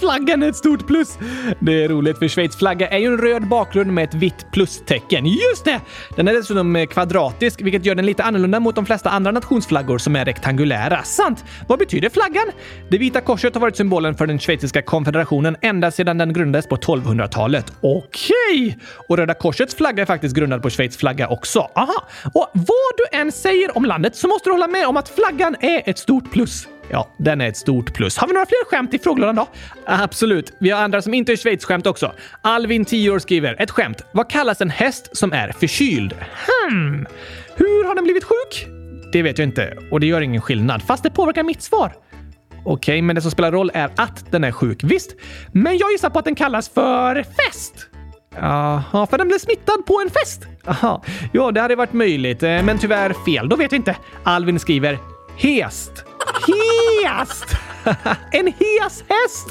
Speaker 1: Flaggan är ett stort plus! Det är roligt för Schweiz flagga är ju en röd bakgrund med ett vitt plustecken. Just det! Den är dessutom eh, kvadratisk, vilket gör den lite annorlunda mot de flesta andra nationsflaggor som är rektangulära. Sant! Vad betyder flaggan? Det vita korset har varit symbolen för den schweiziska konfederationen ända sedan den grundades på 1200-talet. Okej! Och Röda korsets flagga är faktiskt grundad på Schweiz flagga också. Aha! Och vad du än säger om landet så måste du hålla med om att flaggan är ett stort plus. Ja, den är ett stort plus. Har vi några fler skämt i frågelådan då? Absolut. Vi har andra som inte är Schweiz-skämt också. Alvin, 10 år, skriver ett skämt. Vad kallas en häst som är förkyld? Hmm. Hur har den blivit sjuk? Det vet jag inte och det gör ingen skillnad, fast det påverkar mitt svar. Okej, men det som spelar roll är att den är sjuk, visst? Men jag gissar på att den kallas för fest. Jaha, för den blev smittad på en fest? Aha. Ja, det hade varit möjligt, eh, men tyvärr fel. Då vet jag inte. Alvin skriver hest. Hest! [LAUGHS] en hes häst!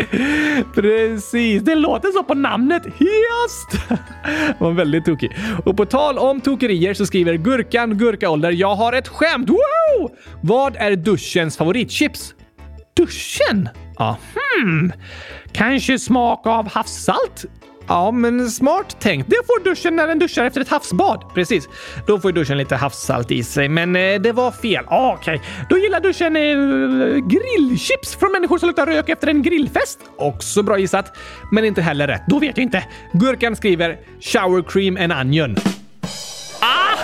Speaker 1: [LAUGHS] Precis, det låter så på namnet. Hest! [LAUGHS] var väldigt tokig. Och på tal om tokerier så skriver Gurkan Gurkaålder “Jag har ett skämt!” Wow! Vad är duschens favoritchips? Duschen? Ja, hmm. Kanske smak av havssalt? Ja, men smart tänkt. Det får duschen när den duschar efter ett havsbad. Precis. Då får ju duschen lite havssalt i sig, men eh, det var fel. Ah, Okej, då gillar duschen eh, grillchips från människor som luktar rök efter en grillfest. Också bra gissat, men inte heller rätt. Då vet jag inte. Gurkan skriver “shower cream and onion”. Ah,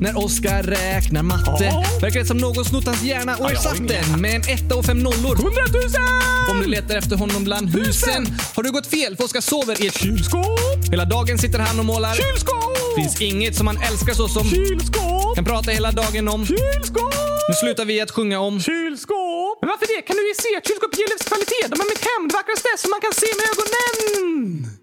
Speaker 2: När Oskar räknar matte
Speaker 1: Ja.
Speaker 2: verkar det som någon snott hans hjärna och
Speaker 1: jag har
Speaker 2: ersatt
Speaker 1: ingen
Speaker 2: den med en etta och fem nollor. Om
Speaker 1: Hundratusen!
Speaker 2: du letar efter honom bland husen har du gått fel för Oskar sover i ett kylskåp.
Speaker 1: Kylskåp!
Speaker 2: Hela dagen sitter han och målar.
Speaker 1: Kylskåp!
Speaker 2: finns inget som man älskar så som...
Speaker 1: Kylskåp!
Speaker 2: Kan prata hela dagen om.
Speaker 1: Kylskåp!
Speaker 2: Nu slutar vi att sjunga om.
Speaker 1: Kylskåp! Men varför det? Kan du ge se att kylskåp ger livskvalitet? De är mitt hem, det vackraste som man kan se med ögonen!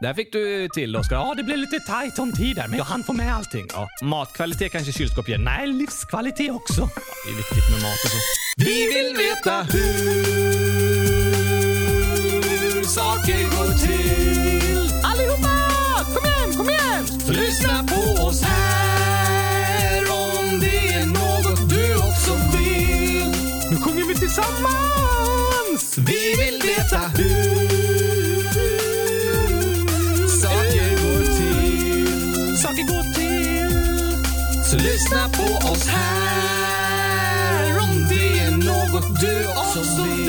Speaker 2: Där fick du till Oskar.
Speaker 1: Ja, det blev lite tajt om tid där, men jag hann få med allting.
Speaker 2: Ja, matkvalitet kanske kylskåp ger. Nej,
Speaker 1: livskvalitet också.
Speaker 2: det är viktigt med mat och så. Vi vill veta hur saker går till.
Speaker 1: Allihopa! Kom igen, kom igen!
Speaker 2: Så lyssna på oss här om det är något du också vill.
Speaker 1: Nu sjunger vi tillsammans!
Speaker 2: Vi vill veta hur saker går till.
Speaker 1: Saker går till.
Speaker 2: Så lyssna på oss här om det är något du också vill.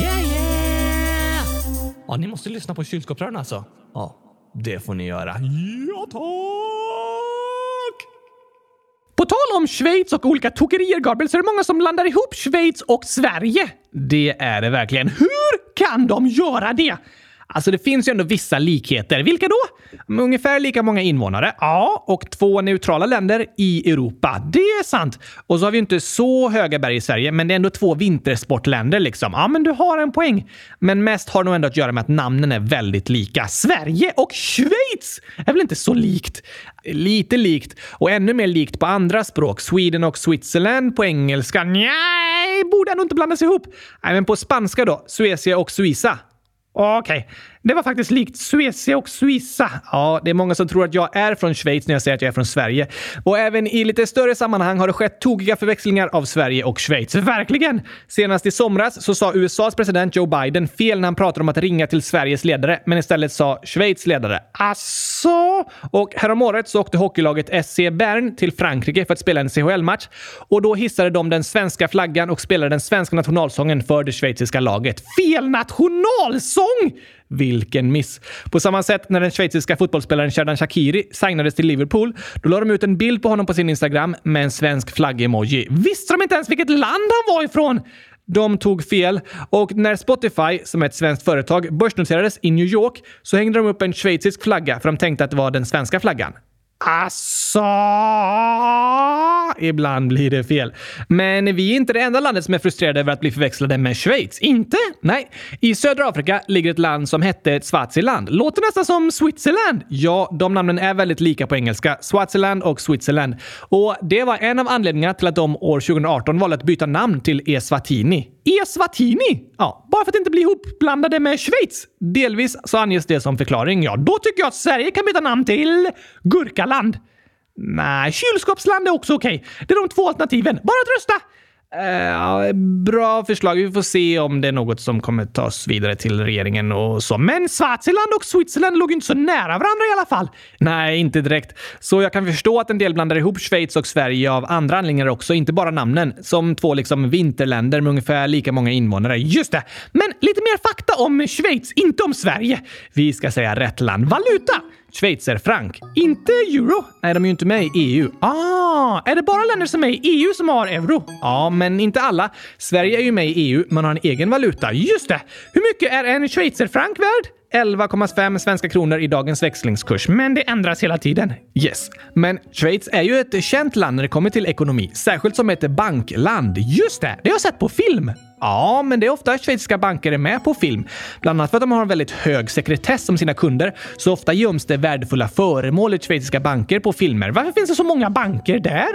Speaker 1: Yeah, yeah!
Speaker 2: Ja, ni måste lyssna på kylskåpsrören alltså. Ja, det får ni göra.
Speaker 1: Ja, tack! På tal om Schweiz och olika tokerier, Gabriel, så är det många som blandar ihop Schweiz och Sverige. Det är det verkligen. Hur kan de göra det? Alltså, det finns ju ändå vissa likheter. Vilka då? Mm, Ungefär lika många invånare, ja, och två neutrala länder i Europa. Det är sant. Och så har vi ju inte så höga berg i Sverige, men det är ändå två vintersportländer liksom. Ja, men du har en poäng. Men mest har nog ändå att göra med att namnen är väldigt lika. Sverige och Schweiz är väl inte så likt? Lite likt och ännu mer likt på andra språk. Sweden och Switzerland på engelska. Nej, borde ändå inte blandas ihop. Nej, men på spanska då. Suecia och Suiza. Okej, det var faktiskt likt Suecia och Suiza. Ja, det är många som tror att jag är från Schweiz när jag säger att jag är från Sverige. Och även i lite större sammanhang har det skett tokiga förväxlingar av Sverige och Schweiz. Verkligen! Senast i somras så sa USAs president Joe Biden fel när han pratade om att ringa till Sveriges ledare, men istället sa Schweiz ledare. Asså? Och häromåret så åkte hockeylaget SC Bern till Frankrike för att spela en CHL-match och då hissade de den svenska flaggan och spelade den svenska nationalsången för det schweiziska laget. Fel nationalsång! Vilken miss! På samma sätt när den schweiziska fotbollsspelaren Sherdan Shakiri signades till Liverpool, då la de ut en bild på honom på sin Instagram med en svensk flaggemoji. Visste de inte ens vilket land han var ifrån? De tog fel och när Spotify, som är ett svenskt företag, börsnoterades i New York så hängde de upp en schweizisk flagga för de tänkte att det var den svenska flaggan. Asså! Alltså, Ibland blir det fel. Men vi är inte det enda landet som är frustrerade över att bli förväxlade med Schweiz. Inte? Nej. I södra Afrika ligger ett land som hette Swaziland. Låter nästan som Switzerland. Ja, de namnen är väldigt lika på engelska. Swaziland och Switzerland. Och det var en av anledningarna till att de år 2018 valde att byta namn till Eswatini. Eswatini? Ja, bara för att inte bli ihopblandade med Schweiz. Delvis så anges det som förklaring. Ja, då tycker jag att Sverige kan byta namn till Gurkaland. Nej, kylskåpsland är också okej. Det är de två alternativen. Bara att rösta! Eh, bra förslag. Vi får se om det är något som kommer tas vidare till regeringen och så. Men Swaziland och Switzerland låg inte så nära varandra i alla fall. Nej, inte direkt. Så jag kan förstå att en del blandar ihop Schweiz och Sverige av andra anledningar också, inte bara namnen. Som två liksom vinterländer med ungefär lika många invånare. Just det! Men lite mer fakta om Schweiz, inte om Sverige. Vi ska säga rätt land. Valuta! Schweizerfrank. Inte euro. Nej, de är ju inte med i EU. Ah, är det bara länder som är i EU som har euro? Ja, men inte alla. Sverige är ju med i EU, men har en egen valuta. Just det! Hur mycket är en schweizerfrank värd? 11,5 svenska kronor i dagens växlingskurs, men det ändras hela tiden. Yes. Men Schweiz är ju ett känt land när det kommer till ekonomi, särskilt som ett bankland. Just det, det har jag sett på film. Ja, men det är ofta schweiziska banker är med på film. Bland annat för att de har en väldigt hög sekretess om sina kunder, så ofta göms det värdefulla föremål i schweiziska banker på filmer. Varför finns det så många banker där?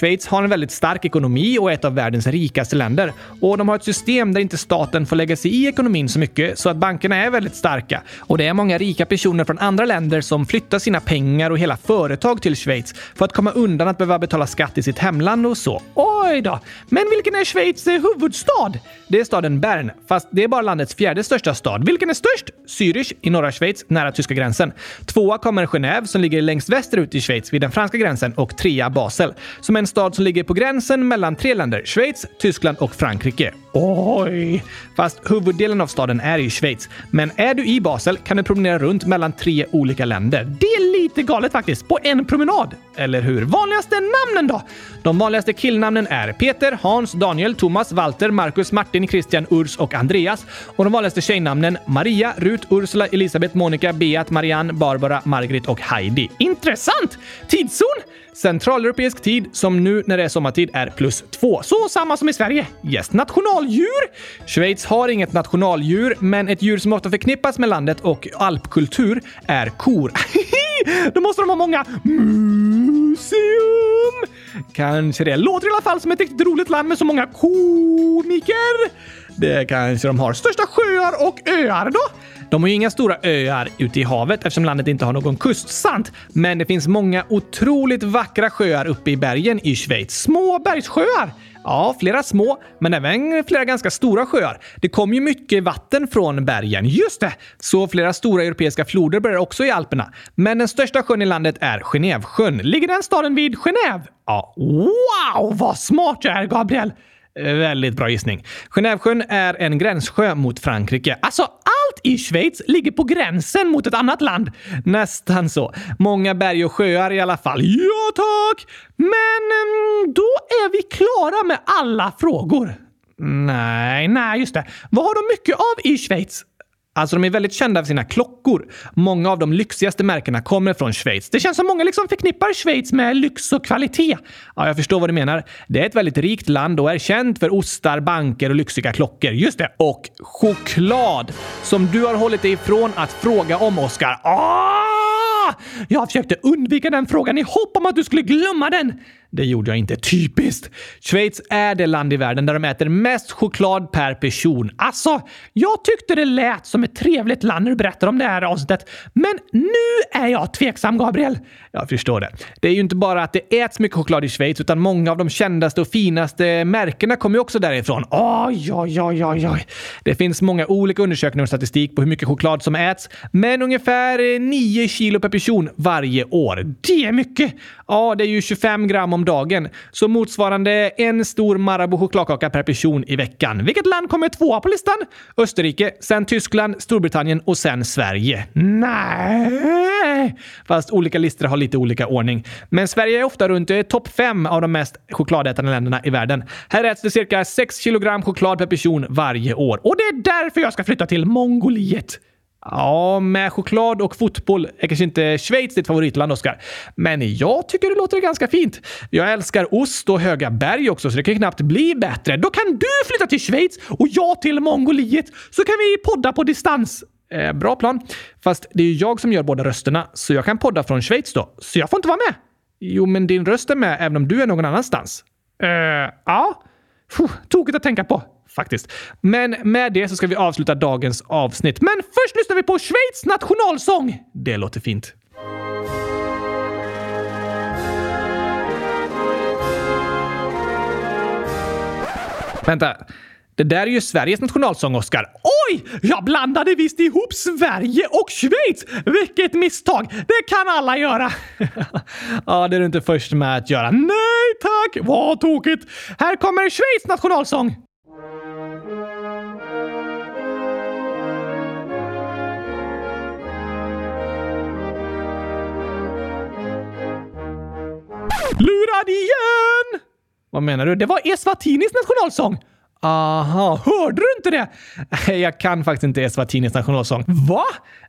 Speaker 1: Schweiz har en väldigt stark ekonomi och är ett av världens rikaste länder. Och de har ett system där inte staten får lägga sig i ekonomin så mycket, så att bankerna är väldigt starka. Och det är många rika personer från andra länder som flyttar sina pengar och hela företag till Schweiz för att komma undan att behöva betala skatt i sitt hemland och så. Oj då! Men vilken är Schweiz eh, huvudstad? Det är staden Bern, fast det är bara landets fjärde största stad. Vilken är störst? Zürich i norra Schweiz, nära tyska gränsen. Tvåa kommer Genève som ligger längst västerut i Schweiz vid den franska gränsen och trea Basel, som är en stad som ligger på gränsen mellan tre länder, Schweiz, Tyskland och Frankrike. Oj! Fast huvuddelen av staden är i Schweiz. Men är du i Basel kan du promenera runt mellan tre olika länder. Det är lite lite galet faktiskt. På en promenad. Eller hur? Vanligaste namnen då? De vanligaste killnamnen är Peter, Hans, Daniel, Thomas, Walter, Marcus, Martin, Christian, Urs och Andreas. Och de vanligaste tjejnamnen Maria, Rut, Ursula, Elisabeth, Monica, Beat, Marianne, Barbara, Margrit och Heidi. Intressant! Tidszon? Centraleuropeisk tid som nu när det är sommartid är plus två. Så samma som i Sverige. Yes. Nationaldjur? Schweiz har inget nationaldjur, men ett djur som ofta förknippas med landet och alpkultur är kor. [LAUGHS] Då måste de ha många museum! Kanske det. Låter i alla fall som ett riktigt roligt land med så många komiker. Det kanske de har. Största sjöar och öar då? De har ju inga stora öar ute i havet eftersom landet inte har någon kust, sant? Men det finns många otroligt vackra sjöar uppe i bergen i Schweiz. Små bergssjöar! Ja, flera små, men även flera ganska stora sjöar. Det kommer ju mycket vatten från bergen. Just det! Så flera stora europeiska floder börjar också i Alperna. Men den största sjön i landet är Genèvesjön. Ligger den staden vid Genève? Ja, wow vad smart jag är, Gabriel! Eh, Väldigt bra gissning. Genèvesjön är en gränssjö mot Frankrike. Alltså, allt i Schweiz ligger på gränsen mot ett annat land. Nästan så. Många berg och sjöar i alla fall. Ja, tack! Men mm, då är vi klara med alla frågor. Nej, nej, just det. Vad har de mycket av i Schweiz? Alltså de är väldigt kända för sina klockor. Många av de lyxigaste märkena kommer från Schweiz. Det känns som många liksom förknippar Schweiz med lyx och kvalitet. Ja, jag förstår vad du menar. Det är ett väldigt rikt land och är känt för ostar, banker och lyxiga klockor. Just det. Och choklad! Som du har hållit dig ifrån att fråga om, Oscar. Ah! Jag försökte undvika den frågan i hopp om att du skulle glömma den. Det gjorde jag inte. Typiskt! Schweiz är det land i världen där de äter mest choklad per person. Alltså, jag tyckte det lät som ett trevligt land när du berättade om det här avsnittet. Men nu är jag tveksam, Gabriel. Jag förstår det. Det är ju inte bara att det äts mycket choklad i Schweiz, utan många av de kändaste och finaste märkena kommer ju också därifrån. Oj, oj, oj, oj, oj. Det finns många olika undersökningar och statistik på hur mycket choklad som äts, men ungefär 9 kilo per person varje år. Det är mycket! Ja, det är ju 25 gram om om dagen. Så motsvarande en stor Marabou chokladkaka per person i veckan. Vilket land kommer tvåa på listan? Österrike, sen Tyskland, Storbritannien och sen Sverige. Nej, Fast olika listor har lite olika ordning. Men Sverige är ofta runt eh, topp fem av de mest chokladätande länderna i världen. Här äts det cirka 6 kilogram choklad per person varje år. Och det är därför jag ska flytta till Mongoliet. Ja, med choklad och fotboll är kanske inte Schweiz ditt favoritland, Oskar. Men jag tycker det låter ganska fint. Jag älskar ost och höga berg också, så det kan knappt bli bättre. Då kan du flytta till Schweiz och jag till Mongoliet, så kan vi podda på distans. Eh, bra plan. Fast det är ju jag som gör båda rösterna, så jag kan podda från Schweiz då. Så jag får inte vara med. Jo, men din röst är med även om du är någon annanstans. Eh, ja. Puh, tokigt att tänka på faktiskt. Men med det så ska vi avsluta dagens avsnitt. Men först lyssnar vi på Schweiz nationalsång! Det låter fint. Vänta. Det där är ju Sveriges nationalsång, Oscar. Oj! Jag blandade visst ihop Sverige och Schweiz! Vilket misstag! Det kan alla göra. [LAUGHS] ja, det är du inte först med att göra. Nej tack! Vad tokigt! Här kommer Schweiz nationalsång! Lurad igen! Vad menar du? Det var Eswatinis nationalsång! Aha, hörde du inte det? [LAUGHS] Nej, Jag kan faktiskt inte Eswatinis nationalsång. Va?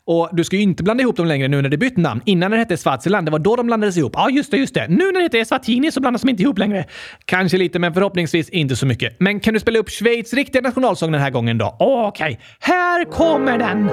Speaker 1: Och du ska ju inte blanda ihop dem längre nu när det bytt namn. Innan det hette Swaziland, det var då de blandades ihop. Ja, just det, just det. Nu när det heter Eswatini så blandas de inte ihop längre. Kanske lite, men förhoppningsvis inte så mycket. Men kan du spela upp Schweiz riktiga nationalsång den här gången då? Okej, här kommer den!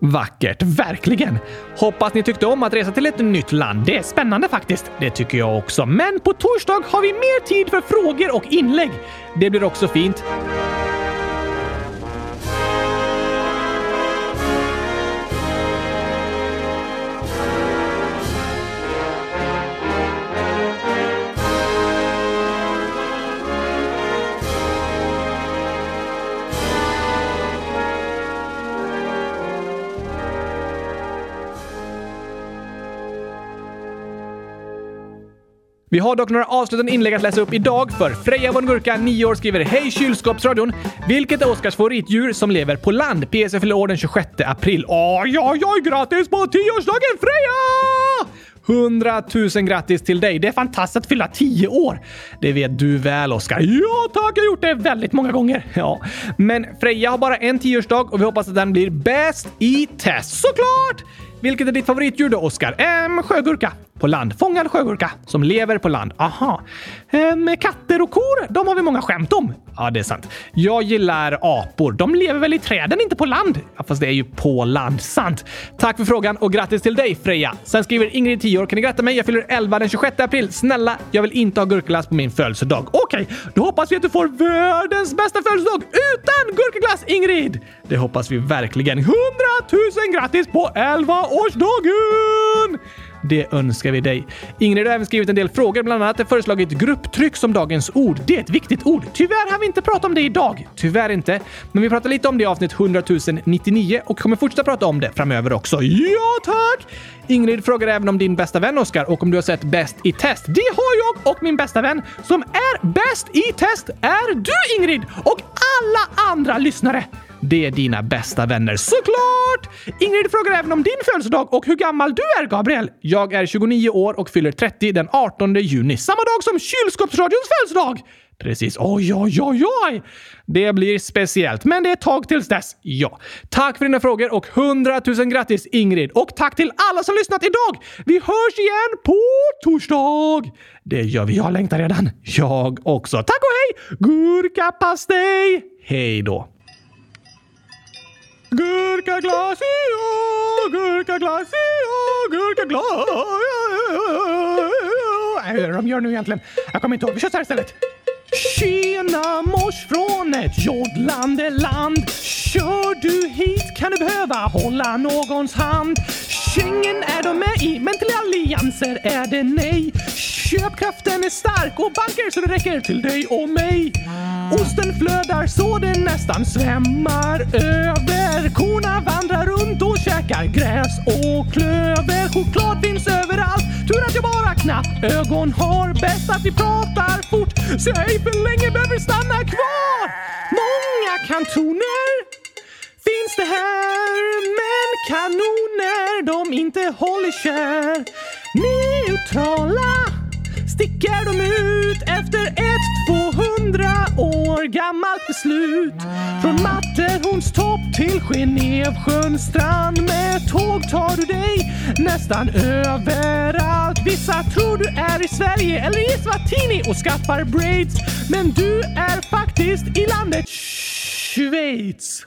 Speaker 1: Vackert, verkligen! Hoppas ni tyckte om att resa till ett nytt land. Det är spännande faktiskt. Det tycker jag också. Men på torsdag har vi mer tid för frågor och inlägg. Det blir också fint. Vi har dock några avslutande inlägg att läsa upp idag för Freja von Gurka, 9 år, skriver Hej kylskåpsradion! Vilket är Oskars favoritdjur som lever på land? PS jag fyller år den 26 april. Oj, oj, oj! Grattis på 10-årsdagen Freja! 100 000 grattis till dig! Det är fantastiskt att fylla 10 år! Det vet du väl, Oskar? Ja tack, jag har gjort det väldigt många gånger. Ja, men Freja har bara en 10-årsdag och vi hoppas att den blir bäst i test, såklart! Vilket är ditt favoritdjur då, Oskar? Ehm, sjögurka. På land. Fångad sjögurka. Som lever på land. Aha. Ehm, katter och kor, de har vi många skämt om. Ja, det är sant. Jag gillar apor. De lever väl i träden, inte på land? Ja, fast det är ju på land. Sant. Tack för frågan och grattis till dig, Freja. Sen skriver Ingrid, 10 år. Kan ni gratta mig? Jag fyller 11 den 26 april. Snälla, jag vill inte ha gurkaglass på min födelsedag. Okej, då hoppas vi att du får världens bästa födelsedag utan gurkaglass, Ingrid! Det hoppas vi verkligen. 100 000 grattis på 11-årsdagen! Det önskar vi dig. Ingrid har även skrivit en del frågor, bland annat föreslagit grupptryck som dagens ord. Det är ett viktigt ord. Tyvärr har vi inte pratat om det idag. Tyvärr inte. Men vi pratar lite om det i avsnitt 100 099 och kommer fortsätta prata om det framöver också. Ja, tack! Ingrid frågar även om din bästa vän Oskar och om du har sett Bäst i test. Det har jag och min bästa vän som är bäst i test är du Ingrid och alla andra lyssnare. Det är dina bästa vänner, såklart! Ingrid frågar även om din födelsedag och hur gammal du är, Gabriel. Jag är 29 år och fyller 30 den 18 juni, samma dag som kylskåpsradions födelsedag! Precis. Oj, oj, oj, oj! Det blir speciellt, men det är ett tag tills dess. Ja. Tack för dina frågor och 100 000 grattis Ingrid! Och tack till alla som lyssnat idag! Vi hörs igen på torsdag! Det gör vi. Jag längtar redan. Jag också. Tack och hej! Gurkapastej! Hej då! Gurkaglass, ja, gurkaglass, ja, gurkaglass. Vad är det de gör nu egentligen? Jag kommer inte ihåg. Vi kör så här istället. Tjena mors från ett joddlande land. Kör du hit kan du behöva hålla någons hand. Schengen är de med i, men till allianser är det nej. Köpkraften är stark och banker så det räcker till dig och mig. Osten flödar så det nästan svämmar över. Korna vandrar runt och käkar gräs och klöver. Choklad finns överallt. Tur att jag bara knappt ögon har. Bäst att vi pratar fort så jag ej för länge behöver stanna kvar. Många kantoner finns det här Men kanoner de inte håller kär Neutrala sticker de ut efter ett 200 år gammalt beslut Från Matterhorns topp till Genevsjöns strand Med tåg tar du dig nästan överallt Vissa tror du är i Sverige eller i Eswatini och skaffar braids Men du är faktiskt i landet Schweiz